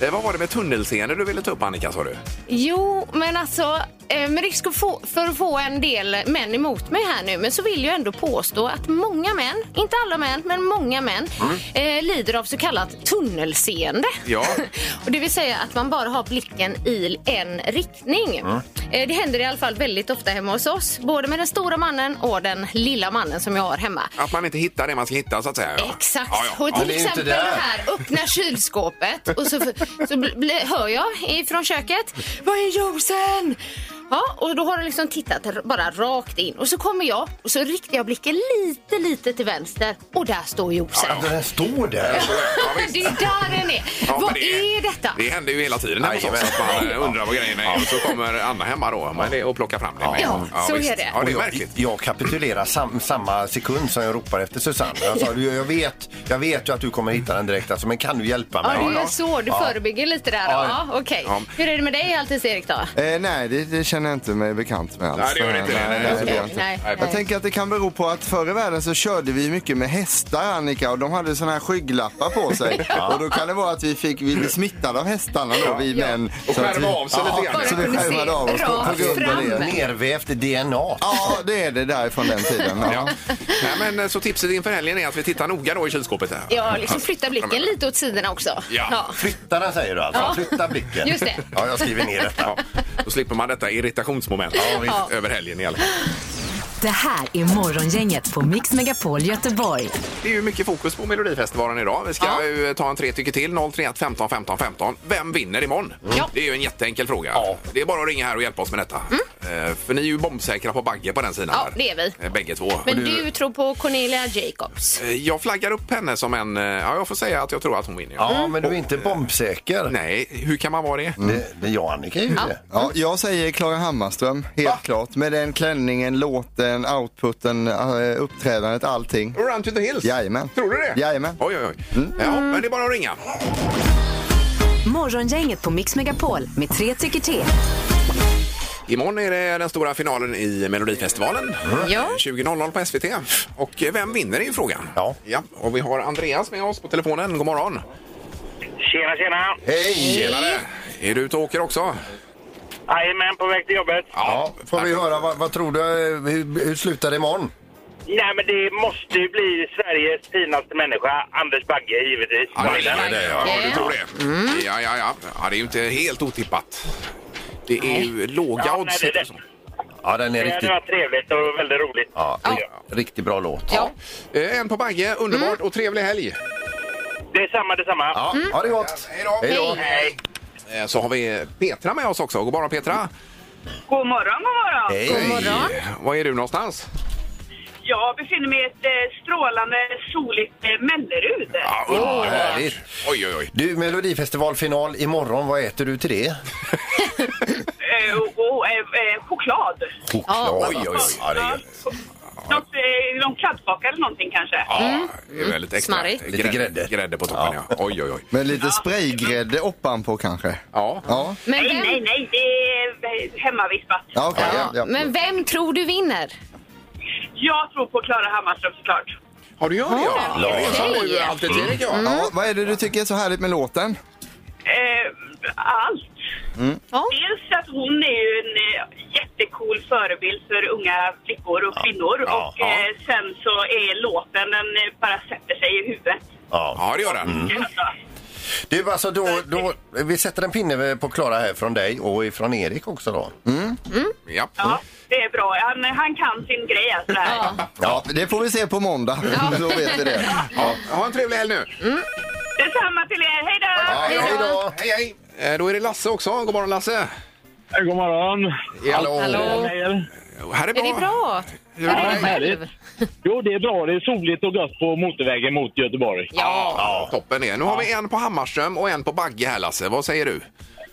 Speaker 4: Eh, vad var det med tunnelseende du ville ta upp Annika sa du?
Speaker 5: Jo, men alltså eh, med risk att få, för att få en del män emot mig här nu, men så vill jag ändå påstå att många män, inte alla män, men många män eh, lider av så kallat tunnelseende.
Speaker 4: Ja.
Speaker 5: och det vill säga att man bara har blicken i en riktning. Eh, det händer i alla fall väldigt ofta hemma hos oss, både med den stora mannen och den lilla mannen som jag har hemma.
Speaker 4: Att man inte hittar det man ska hitta så att säga. Ja.
Speaker 5: Exakt.
Speaker 4: Ja, ja.
Speaker 5: Och
Speaker 6: Ja,
Speaker 5: till
Speaker 6: det är ju inte
Speaker 5: exempel
Speaker 6: där.
Speaker 5: det här, öppna kylskåpet och så, så bl- bl- hör jag ifrån köket, vad är juicen? Ja, och då har du liksom tittat r- bara rakt in och så kommer jag och så riktar jag blicken lite, lite till vänster och där står juicen.
Speaker 6: Att den står där!
Speaker 4: Ja, visst.
Speaker 5: Det är där den är.
Speaker 4: Ja,
Speaker 5: vad
Speaker 4: men
Speaker 5: är detta?
Speaker 4: Det händer ju hela tiden hemma hos oss.
Speaker 6: Jajamän.
Speaker 4: att Man eh, undrar vad grejen är och så kommer Anna hemma då men det, och plockar fram det. med en
Speaker 5: Ja,
Speaker 4: gång.
Speaker 5: så
Speaker 4: visst.
Speaker 5: är det.
Speaker 4: Ja, det är
Speaker 6: Och
Speaker 4: märkligt.
Speaker 6: Jag, jag kapitulerar sam, samma sekund som jag ropar efter Susanne. Jag sa, du, jag vet, jag vet ju att du kommer hitta den direkt, alltså, men kan du hjälpa mig?
Speaker 5: Ja, du gör så. Du
Speaker 6: Ja.
Speaker 5: förebygger lite där.
Speaker 6: Ja.
Speaker 5: Ja, okej.
Speaker 4: Ja.
Speaker 5: Hur är det med dig alltid, Erik då?
Speaker 7: Eh, nej, det, det känner jag inte mig bekant med alls.
Speaker 4: Nej, det gör det inte. Nej, nej,
Speaker 7: det gör jag
Speaker 5: nej,
Speaker 7: inte.
Speaker 5: nej, nej.
Speaker 7: Jag tänker att det kan bero på att förr i världen så körde vi mycket med hästar Annika och de hade såna här skygglappar på sig. Och då kan det vara att vi fick, vi blev smittade av hästarna då, vi
Speaker 5: Ja.
Speaker 7: män.
Speaker 4: Och
Speaker 7: Så att
Speaker 4: skärma
Speaker 7: vi-
Speaker 4: av sig lite grann.
Speaker 7: Ja, så
Speaker 5: Bara
Speaker 7: vi
Speaker 5: kunde se
Speaker 7: skärmade av oss på,
Speaker 6: Alltså,
Speaker 5: rakt
Speaker 7: på grund av
Speaker 5: fram.
Speaker 7: det.
Speaker 6: Nervävt DNA.
Speaker 7: Ja, det är det därifrån den tiden. Ja.
Speaker 4: Ja. Nej, men, eh, så tipset inför helgen är att vi tittar noga då i kylskåpet. Här.
Speaker 5: Ja, liksom flytta blicken
Speaker 4: Ja,
Speaker 5: lite åt sidorna också.
Speaker 4: Ja.
Speaker 6: Flytta den säger du alltså?
Speaker 5: Ja.
Speaker 6: Flytta blicken.
Speaker 5: Just det. Mm.
Speaker 6: Ja, jag skriver ner detta.
Speaker 4: men, ja. Då slipper man detta irritationsmoment
Speaker 5: Ja.
Speaker 4: över helgen i alla fall.
Speaker 3: Det här är Morgongänget på Mix Megapol Göteborg.
Speaker 4: Det är ju mycket fokus på Melodifestivalen idag. Vi ska
Speaker 5: Ja.
Speaker 4: ju ta en tre tycker till. 031 15 15 15. Vem vinner imorgon?
Speaker 5: Mm. Ja.
Speaker 4: Det är ju en jätteenkel fråga.
Speaker 6: Ja.
Speaker 4: Det är bara att ringa här och hjälpa oss med detta. Eh, För ni är ju bombsäkra på Bagge på den sidan.
Speaker 5: Mm. Ja,
Speaker 4: här.
Speaker 5: det är vi.
Speaker 4: Eh, Bägge två.
Speaker 5: Men du tror på Cornelia Jacobs?
Speaker 4: Eh, Jag flaggar upp henne som en... eh, Ja, jag får säga att jag tror att hon vinner.
Speaker 6: Ja, men du är inte bombsäker.
Speaker 4: Nej, hur kan man vara det?
Speaker 6: Det, det, jag och Annika är ju det.
Speaker 7: Ja, jag säger Klara Hammarström, helt klart. Med den klänningen, låten, outputen, eh, uppträdandet, allting.
Speaker 4: Run to the hills?
Speaker 7: Jajamän.
Speaker 4: Tror du det?
Speaker 7: Jajamän. Mm.
Speaker 4: Oj, oj, oj. Ja, men det är bara att ringa.
Speaker 3: Morgongänget på Mix Megapol med tre tycker till.
Speaker 4: Imorgon är det den stora finalen i Melodifestivalen.
Speaker 5: Ja.
Speaker 4: 20.00 på SVT. Och eh, vem vinner är ju frågan.
Speaker 6: Ja.
Speaker 4: ja. Och vi har Andreas med oss på telefonen. God morgon.
Speaker 10: Tjena, tjena!
Speaker 6: Hej!
Speaker 4: Tjenare! Är du ute och åker också?
Speaker 10: Jajamän, på väg till jobbet.
Speaker 6: Ja, får vi höra, vad, vad tror du, eh, hur, hur slutar det imorgon?
Speaker 10: Nej, men det måste ju bli Sveriges finaste människa, Anders Bagge, givetvis.
Speaker 4: Ja, det är det. Ja,
Speaker 5: Ja.
Speaker 4: du tror det.
Speaker 5: Mm.
Speaker 4: Ja, ja, ja. ja, det är ju inte helt otippat. Det är ju låga
Speaker 10: Ja,
Speaker 4: odds.
Speaker 10: nej, det är det.
Speaker 6: Ja, den är
Speaker 10: Det hade
Speaker 6: riktigt,
Speaker 10: varit trevligt och väldigt roligt.
Speaker 6: ja, riktigt, riktigt bra låt.
Speaker 5: Ja.
Speaker 4: Eh, En på Bagge. Underbart
Speaker 5: Mm.
Speaker 4: och trevlig helg.
Speaker 10: Detsamma, detsamma.
Speaker 6: Ja, ha det gott!
Speaker 4: Hej då.
Speaker 6: Mm. Hej då!
Speaker 10: Hej!
Speaker 4: Eh, Så har vi Petra med oss också. God morgon Petra! Eh,
Speaker 11: God morgon, god morgon!
Speaker 5: God morgon.
Speaker 4: Var är du någonstans?
Speaker 11: Jag befinner mig i ett eh, strålande soligt eh, Mellerud.
Speaker 4: underbart.
Speaker 6: härligt.
Speaker 4: Oj, oj, oj.
Speaker 6: Du, Melodifestivalfinal imorgon, vad äter du till det?
Speaker 11: Eh, och, och eh, eh, choklad.
Speaker 6: Choklad. Oj, oj, oj. Ja, det är gött.
Speaker 11: Något, eh, någon kladdkaka eller någonting kanske.
Speaker 4: Ja, det är väldigt extra.
Speaker 5: Smarrigt.
Speaker 4: Grädde-
Speaker 6: Lite grädde.
Speaker 4: Grädde på toppen, ja. Oj, oj, oj.
Speaker 7: Med lite spraygrädde oppanpå kanske.
Speaker 4: Ja.
Speaker 7: Ja,
Speaker 5: Men
Speaker 11: Nej, nej,
Speaker 5: vem,
Speaker 11: nej, det är hemmavispat.
Speaker 7: ja okej. ja, ja.
Speaker 5: men vem tror du vinner?
Speaker 11: Jag tror på Klara Hammarström såklart.
Speaker 4: Har du gjort det? Ja. Resan
Speaker 5: Okej.
Speaker 4: är ju alltid tidigt, ja.
Speaker 7: Ja, vad är det du tycker är så härligt med låten?
Speaker 11: Eh, allt.
Speaker 5: Ja.
Speaker 11: Dels att hon är ju en eh, jättecool förebild för unga flickor och kvinnor.
Speaker 6: Ja,
Speaker 11: och
Speaker 6: ja.
Speaker 11: eh, sen så är låten, den eh, bara sätter sig i huvudet.
Speaker 6: Ja.
Speaker 4: Ja, det gör den. Mm.
Speaker 11: Alltså,
Speaker 6: Du, alltså då, då, vi sätter en pinne på Klara här från dig och från Erik också då. Mm.
Speaker 4: Ja.
Speaker 11: ja, det är bra. Han, han kan sin grej alltså. det här.
Speaker 7: Ja, det får vi se på måndag. Då vet vi det.
Speaker 4: Ja. Ha en trevlig helg nu.
Speaker 11: Detsamma till er, hej då!
Speaker 6: Ja, hej då!
Speaker 4: Hej, hej. Eh, Då är det Lasse också. God morgon, Lasse.
Speaker 1: God morgon.
Speaker 4: Hallå.
Speaker 5: Hallå.
Speaker 1: er.
Speaker 4: Här är
Speaker 5: Är
Speaker 4: bra.
Speaker 5: det bra? Hur är det själv?
Speaker 12: Jo, det är bra. Det är soligt och gött på motorvägen mot Göteborg.
Speaker 4: Ja, toppen är. Nu har vi en på Hammarström och en på Bagge här Lasse. Vad säger du?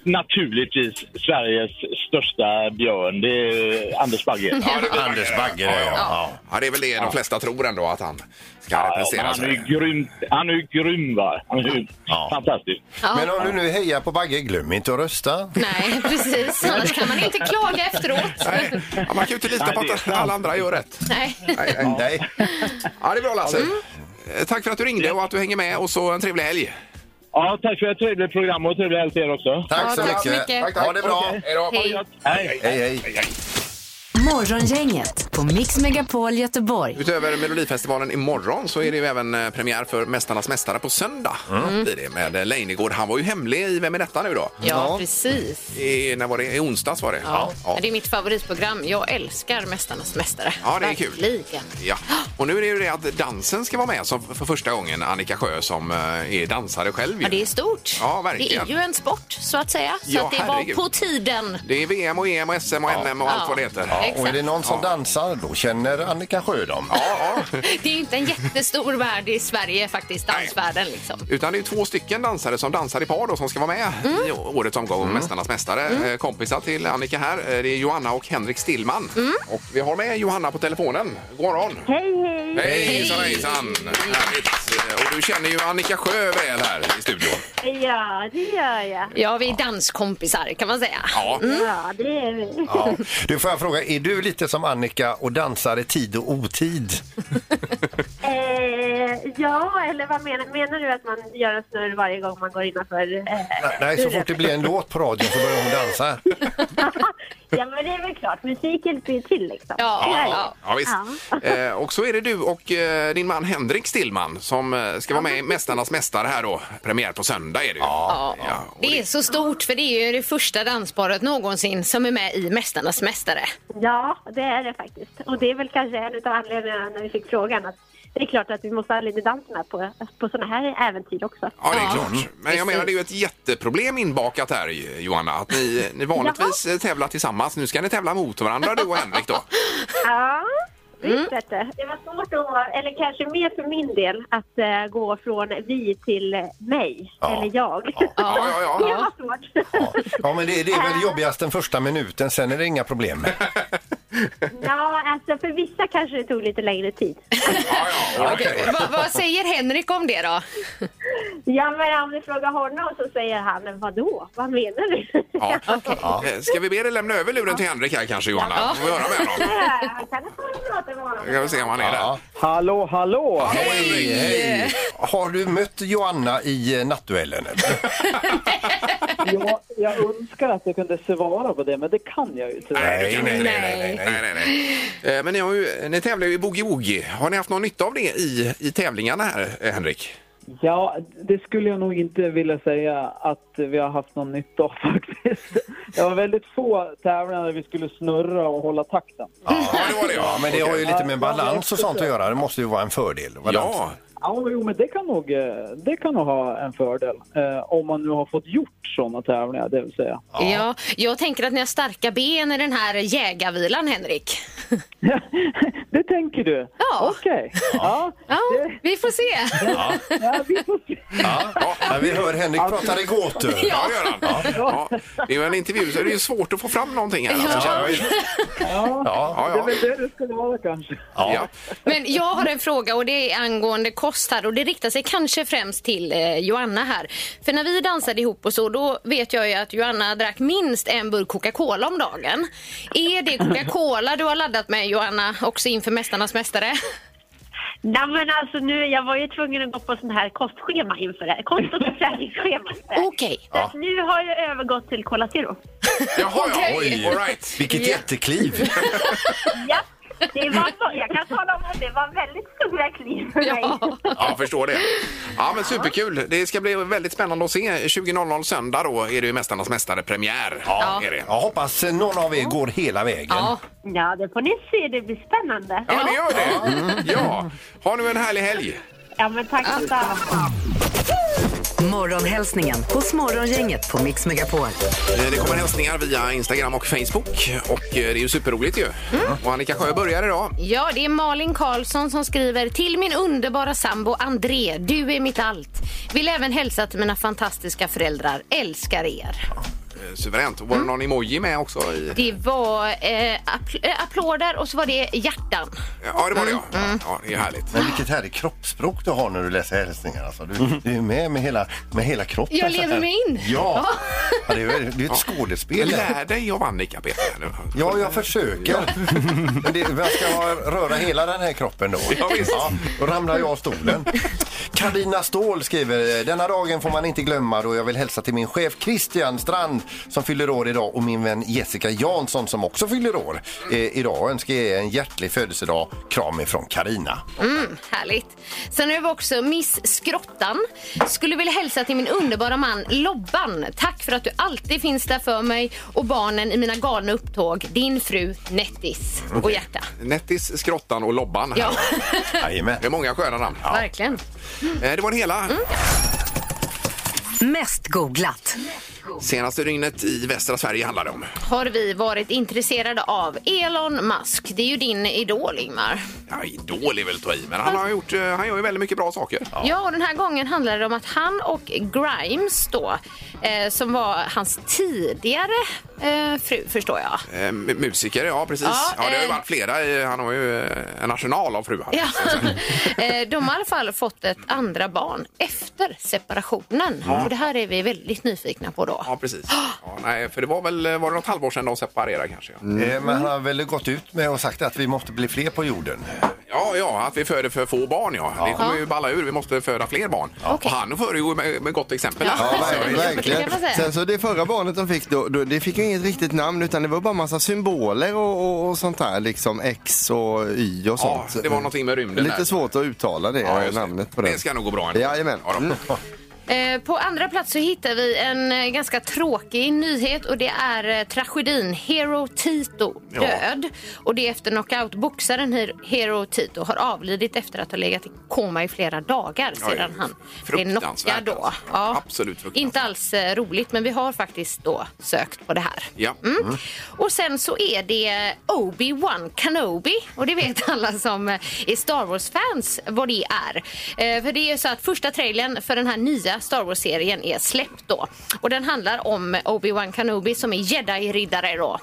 Speaker 12: Naturligtvis Sveriges största björn. Det är Anders Bagge.
Speaker 4: Anders Bagge ja, ja. ja, det är väl det de flesta tror ändå att han ska
Speaker 12: men
Speaker 4: representera
Speaker 12: han är
Speaker 4: sig.
Speaker 12: ju grym, han är ju grym va? Han är ju fantastisk.
Speaker 6: Men om du nu hejar på Bagge, glöm inte att rösta.
Speaker 5: Nej, precis. Annars kan man inte klaga efteråt.
Speaker 4: Ja, man kan ju inte lita på att alla andra gör rätt.
Speaker 5: Nej.
Speaker 4: Nej, nej, nej. Ja, det är bra Lasse.
Speaker 5: Mm.
Speaker 4: Eh, Tack för att du ringde och att du hänger med och så en trevlig helg.
Speaker 12: Ja, tack för ett trevligt program och trevlig helg till er också.
Speaker 4: Tack Ja, så tack så mycket. mycket. Tack, tack. Ha det bra. Okej. Hej då. Hej.
Speaker 12: Hej.
Speaker 6: Hej, hej.
Speaker 3: Morgongänget på Mix Megapol Göteborg.
Speaker 4: Utöver Melodifestivalen imorgon så är det ju även eh, premiär för Mästarnas mästare på söndag.
Speaker 5: Mm.
Speaker 4: Blir det med eh, Leijnegård. Han var ju hemlig i Vem är detta nu då?
Speaker 5: Ja, precis.
Speaker 4: I, när var det? I onsdags var det.
Speaker 5: Mm. Ja. Det är mitt favoritprogram. Jag älskar Mästarnas mästare.
Speaker 4: Ja, det är kul.
Speaker 5: Verkligen.
Speaker 4: Ja. Och nu är det ju det att dansen ska vara med som för första gången. Annika Sjö som eh, är dansare själv. ju.
Speaker 5: Ja, det är stort.
Speaker 4: Ja,
Speaker 5: det
Speaker 4: verkligen.
Speaker 5: är ju en sport, så att säga. Så
Speaker 4: Ja,
Speaker 5: att det var
Speaker 4: herregud.
Speaker 5: på tiden.
Speaker 4: Det är VM och EM och SM och NM och allt
Speaker 5: Ja.
Speaker 4: vad det heter.
Speaker 5: Ja,
Speaker 6: Och är det någon som dansar, då känner Annika Sjö dem.
Speaker 5: Det är ju inte en jättestor värld i Sverige, faktiskt, dansvärlden. Liksom.
Speaker 4: Utan det är två stycken dansare som dansar i par då, som ska vara med i å- årets omgång av Mästarnas mästare. Eh, Kompisar till Annika här, eh, det är Johanna och Henrik Stillman. Och vi har med Johanna på telefonen. God morgon!
Speaker 2: Hej, hej!
Speaker 4: Hej hejsan, hejsan! Härligt! Eh, Och du känner ju Annika Sjö väl här i studion.
Speaker 2: Ja, det gör jag.
Speaker 5: Ja, vi är danskompisar, kan man säga.
Speaker 4: Ja.
Speaker 2: Ja, det är vi.
Speaker 6: Ja. Du får jag fråga, är du lite som Annika och dansar i tid och otid?
Speaker 2: Eh, ja, eller vad menar, menar du att man gör en snurr varje gång man går innanför? Eh,
Speaker 6: Nej, så fort det blir en låt på radion så börjar hon dansa.
Speaker 2: ja, men det är väl klart. Musik hjälper ju till liksom.
Speaker 4: Ja, ja, ja, visst. Eh, och så är det du och eh, din man Henrik Stillman som eh, ska vara med i Mästarnas mästare här då. Premiär på söndag är det ju. Ja.
Speaker 5: Det är så stort, för det är ju det första dansparet någonsin som är med i Mästarnas mästare.
Speaker 2: Ja, det är det faktiskt. Och det är väl kanske en av anledningarna när vi fick frågan att det är klart att vi måste ha lite dans med på, på sådana här äventyr också.
Speaker 4: Ja, det är klart. Men jag menar, det är ju ett jätteproblem inbakat här, Johanna. Att ni, ni vanligtvis eh, tävlar tillsammans. Nu ska ni tävla mot varandra, du och Henrik då.
Speaker 2: Ja,
Speaker 4: Mm.
Speaker 2: visst vet du. Det var svårt att, eller kanske mer för min del, att eh, gå från vi till eh, mig, eller jag. Ja,
Speaker 4: ja, ja.
Speaker 2: Det var svårt.
Speaker 6: Ja, men det, det är väl jobbigast den första minuten, sen är det inga problem.
Speaker 2: Ja, alltså för vissa kanske det tog lite längre tid.
Speaker 5: Okej, Vad- vad säger Henrik om det då?
Speaker 2: Ja, men om du frågar honom så säger han, vadå? Vad menar du?
Speaker 4: Ja. Eh, Ska vi be dig lämna över luren till Henrik här kanske, Johanna?
Speaker 2: Ja.
Speaker 4: Får vi höra med honom?
Speaker 2: Jag kan inte prata med honom.
Speaker 4: Ska vi se om han är där.
Speaker 12: Hallå, hallå!
Speaker 6: Hej, hej. Har du mött Joanna i eh, nattduellen?
Speaker 13: Jag, jag önskar att jag kunde svara på det, men det kan jag ju inte.
Speaker 4: Nej, nej, nej. nej, nej, nej. Eh, Men ni, har ju, ni tävlar ju i boogie-woogie. Har ni haft någon nytta av det i, i tävlingarna här, eh, Henrik?
Speaker 13: Ja, det skulle jag nog inte vilja säga att vi har haft någon nytta av faktiskt. Det var väldigt få tävlingar där vi skulle snurra och hålla takten.
Speaker 6: Ja, men det har ju lite med balans och sånt att göra. Det måste ju vara en fördel. balans.
Speaker 13: Ja, jo, men det kan, nog, eh, det kan nog ha en fördel. Eh, om man nu har fått gjort sådana tävlingar, det vill säga.
Speaker 5: Ja. jag tänker att ni har starka ben i den här jägarvilan, Henrik.
Speaker 13: Det tänker du?
Speaker 5: Ja.
Speaker 13: Okej. Ja.
Speaker 5: Ja, vi får se.
Speaker 6: Ja.
Speaker 13: Ja, vi får se.
Speaker 6: Ja, men vi hör Henrik prata i gåtor.
Speaker 4: Ja, det gör han. Ja. Det är ju en intervju så det är ju svårt att få fram någonting här. Alltså.
Speaker 6: Ja.
Speaker 13: Ja,
Speaker 4: Ja, ja.
Speaker 13: det är väl det det skulle vara kanske.
Speaker 4: Ja.
Speaker 5: Men jag har en fråga och det är angående kost här och det riktar sig kanske främst till eh, Joanna här. För när vi dansade ihop och så, då vet jag ju att Joanna drack minst en burk Coca-Cola om dagen. Är det Coca-Cola du har laddat med Joanna, också inför Mästarnas Mästare?
Speaker 2: Nej men alltså nu, jag var ju tvungen att gå på sån här kostschema inför det här. Kost och träningsschema. Okej.
Speaker 6: Ja.
Speaker 2: Nu har jag övergått till Cola Zero.
Speaker 4: Jaha, ja.
Speaker 6: Oj,
Speaker 4: All right.
Speaker 6: vilket jättekliv.
Speaker 2: Ja, det var, jag kan tala om att det var väldigt stora kliv för mig.
Speaker 4: Ja, jag förstår det. Ja, men superkul. Det ska bli väldigt spännande att se. 20.00 söndag då är det ju Mästarnas mästare-premiär. Ja. Är det.
Speaker 6: Jag hoppas eh, någon av er går hela vägen.
Speaker 2: Ja, det får ni se. Det blir spännande.
Speaker 4: Ja, det gör det. Ja. Ha nu en härlig helg.
Speaker 2: Ja, men tack så mycket.
Speaker 3: Morgonhälsningen hos Morgongänget på Mix Megapol.
Speaker 4: Eh, Det kommer hälsningar via Instagram och Facebook och eh, det är ju superroligt ju. Och Annika Sjö börjar idag.
Speaker 5: Ja, det är Malin Karlsson som skriver till min underbara sambo André. Du är mitt allt. Vill även hälsa till mina fantastiska föräldrar. Älskar er.
Speaker 4: Eh, Suveränt. Och var det någon emoji med också? I...
Speaker 5: Det var eh, appl- eh, applåder och så var det hjärtan.
Speaker 4: Ja, det var det ja. Ja, det är härligt.
Speaker 6: Men vilket härligt kroppsspråk du har när du läser hälsningar. Alltså, du, du är med med hela, med hela kroppen.
Speaker 5: Jag
Speaker 6: så här.
Speaker 5: lever mig in.
Speaker 6: Ja. ja, det är ju det är ju ett skådespel.
Speaker 4: Lär dig av Annika, Peter. nu.
Speaker 6: Ja, jag försöker. Men det, jag ska ha- röra hela den här kroppen då.
Speaker 4: Ja, visst.
Speaker 6: då ramlar jag av stolen. Karina Ståhl skriver, denna dagen får man inte glömma då jag vill hälsa till min chef Christian Strand som fyller år idag och min vän Jessica Jansson som också fyller år eh, idag. Jag önskar er en hjärtlig födelsedag. Kram ifrån Karina.
Speaker 5: Mm, härligt. Sen har vi också Miss Skrottan. Skulle vilja hälsa till min underbara man Lobban. Tack för att du alltid finns där för mig och barnen i mina galna upptåg. Din fru Nettis och hjärta.
Speaker 4: Nettis, Skrottan och Lobban. här.
Speaker 5: Ja.
Speaker 4: Det är många sköna namn.
Speaker 5: Verkligen.
Speaker 4: Eh, Det var det hela.
Speaker 3: Mest googlat.
Speaker 4: Senaste dygnet i västra Sverige handlar det om.
Speaker 5: Har vi varit intresserade av Elon Musk? Det är ju din idol, Ingmar.
Speaker 4: Ja, idol är väl att ta i, men han, har gjort, eh, han gör ju väldigt mycket bra saker.
Speaker 5: Ja. och den här gången handlar det om att han och Grimes då, eh, som var hans tidigare eh, fru, förstår jag.
Speaker 4: Eh, m- musiker, ja precis.
Speaker 5: Ja,
Speaker 4: Ja, det har ju
Speaker 5: eh,
Speaker 4: varit flera. i- Han har ju eh, en arsenal av fruar.
Speaker 5: Ja. Eh, De har i alla fall fått ett andra barn efter separationen.
Speaker 4: Ja.
Speaker 5: Och det här är vi väldigt nyfikna på då.
Speaker 4: Ja, precis. Ja, nej, för det var väl eh, var det något halvår sedan de separerade kanske? Ja,
Speaker 6: Eh, Men han har väl gått ut med och sagt att vi måste bli fler på jorden.
Speaker 4: ja, ja att vi föder för få barn ja. Det kommer
Speaker 5: Ja.
Speaker 4: ju balla ur. Vi måste föda fler barn. Och han föregår ju med, med gott exempel.
Speaker 5: Ja,
Speaker 4: här.
Speaker 5: precis.
Speaker 4: Så-
Speaker 5: kan
Speaker 7: Verkligen.
Speaker 5: man säga.
Speaker 7: Sen så det förra barnet de fick, då, då, det fick ju inget riktigt namn utan det var bara massa symboler och, och, och sånt där. Liksom X och Y och
Speaker 4: Ja,
Speaker 7: sånt.
Speaker 4: det var någonting med rymden
Speaker 7: Lite
Speaker 4: där.
Speaker 7: svårt att uttala det
Speaker 4: Ja, just det.
Speaker 7: namnet på
Speaker 4: Det
Speaker 7: den.
Speaker 4: ska nog gå bra ändå.
Speaker 7: Jajamän.
Speaker 4: Ja, då.
Speaker 7: Mm.
Speaker 5: Eh, På andra plats så hittar vi en eh, ganska tråkig nyhet och det är eh, tragedin Hero Tito
Speaker 4: Ja.
Speaker 5: död. Och det är efter knockoutboxaren Her- Hero Tito har avlidit efter att ha legat i koma i flera dagar
Speaker 4: Ja,
Speaker 5: sedan
Speaker 4: det är
Speaker 5: han blev knockad
Speaker 4: fruktansvärt
Speaker 5: då.
Speaker 4: alltså.
Speaker 5: Ja.
Speaker 4: Absolut fruktansvärt.
Speaker 5: Inte alls eh, roligt men vi har faktiskt då sökt på det här.
Speaker 4: Ja. Mm.
Speaker 5: Och sen så är det Obi-Wan Kenobi och det vet alla som eh, är Star Wars-fans vad det är. Eh, För det är så att första trailern för den här nya Star Wars-serien är släppt då. Och den handlar om Obi-Wan Kenobi som är jedi-riddare då.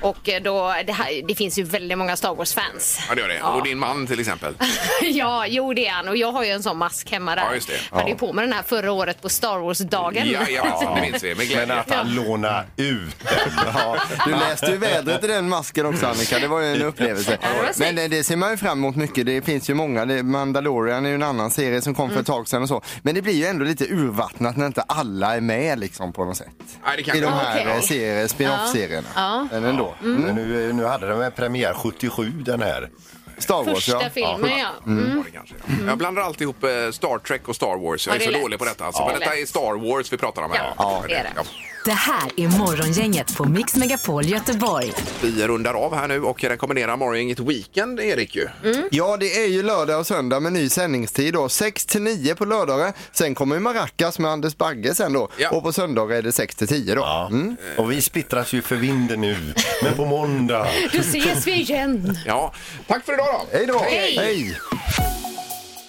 Speaker 5: Och eh, då, det, här, det finns ju väldigt många Star Wars-fans.
Speaker 4: Ja, det gör det. Och din man till exempel.
Speaker 5: ja, jo det är han. Och jag har ju en sån mask hemma där.
Speaker 4: Ja, just det.
Speaker 5: Jag hade ju på mig den här förra året på Star Wars-dagen.
Speaker 4: Ja, ja, det minns vi. Med
Speaker 6: Men
Speaker 4: glädje.
Speaker 6: att han lånar ut den. Ja.
Speaker 7: Du läste ju vädret i den masken också Annika, det var ju en upplevelse.
Speaker 5: det var
Speaker 7: Men eh, det ser man ju fram emot mycket, det finns ju många. Det- Mandalorian är ju en annan serie som
Speaker 5: Mm.
Speaker 7: kom för ett tag sedan och så. Men det blir ju ändå lite urvattnat när inte alla är med liksom på något sätt.
Speaker 4: Nej, det kan
Speaker 7: I de här
Speaker 5: Okej.
Speaker 7: okay. serier, spin-off-serierna.
Speaker 5: Ja. Mm.
Speaker 7: Men ändå.
Speaker 4: Mm.
Speaker 6: Men nu, nu hade den väl premiär 77 den här.
Speaker 7: Star Wars
Speaker 5: Första
Speaker 7: ja.
Speaker 5: filmen ja.
Speaker 4: Mm. Var det kanske. Jag blandar alltid ihop eh, Star Trek och Star Wars.
Speaker 5: Mm. Ja,
Speaker 4: Jag är
Speaker 5: det
Speaker 4: så
Speaker 5: är lätt.
Speaker 4: dålig på detta. Alltså.
Speaker 5: Ja.
Speaker 4: Men detta är Star Wars vi pratar om här.
Speaker 5: Ja, Ja. det är det.
Speaker 4: Ja.
Speaker 3: Det här är Morgongänget på Mix Megapol Göteborg.
Speaker 4: Vi rundar av här nu och rekommenderar Morgongänget Weekend, Erik. Ju.
Speaker 5: Mm.
Speaker 7: Ja, det är ju lördag och söndag med ny sändningstid då. 6 till 9 på lördagar. Sen kommer ju Maracas med Anders Bagge sen då.
Speaker 4: Ja.
Speaker 7: Och på söndagar är det 6 till 10 då. Mm.
Speaker 6: Ja. Och vi splittras ju för vinden nu. Men på måndag.
Speaker 5: Då ses vi igen.
Speaker 4: Ja. Tack för idag då!
Speaker 7: Hej då!
Speaker 5: Hej!
Speaker 7: Hej.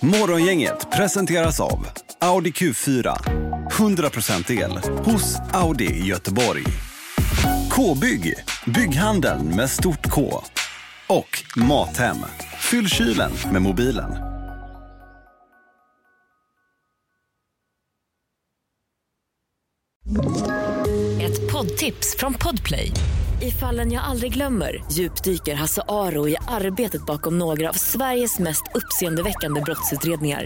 Speaker 14: Morgongänget presenteras av Audi Q4. 100% el hos Audi i Göteborg. K-bygg, bygghandeln med stort K. Och Mathem, fyll kylen med mobilen.
Speaker 15: Ett poddtips från Podplay. I fallen jag aldrig glömmer djupdyker Hasse Aro i arbetet bakom några av Sveriges mest uppseendeväckande brottsutredningar.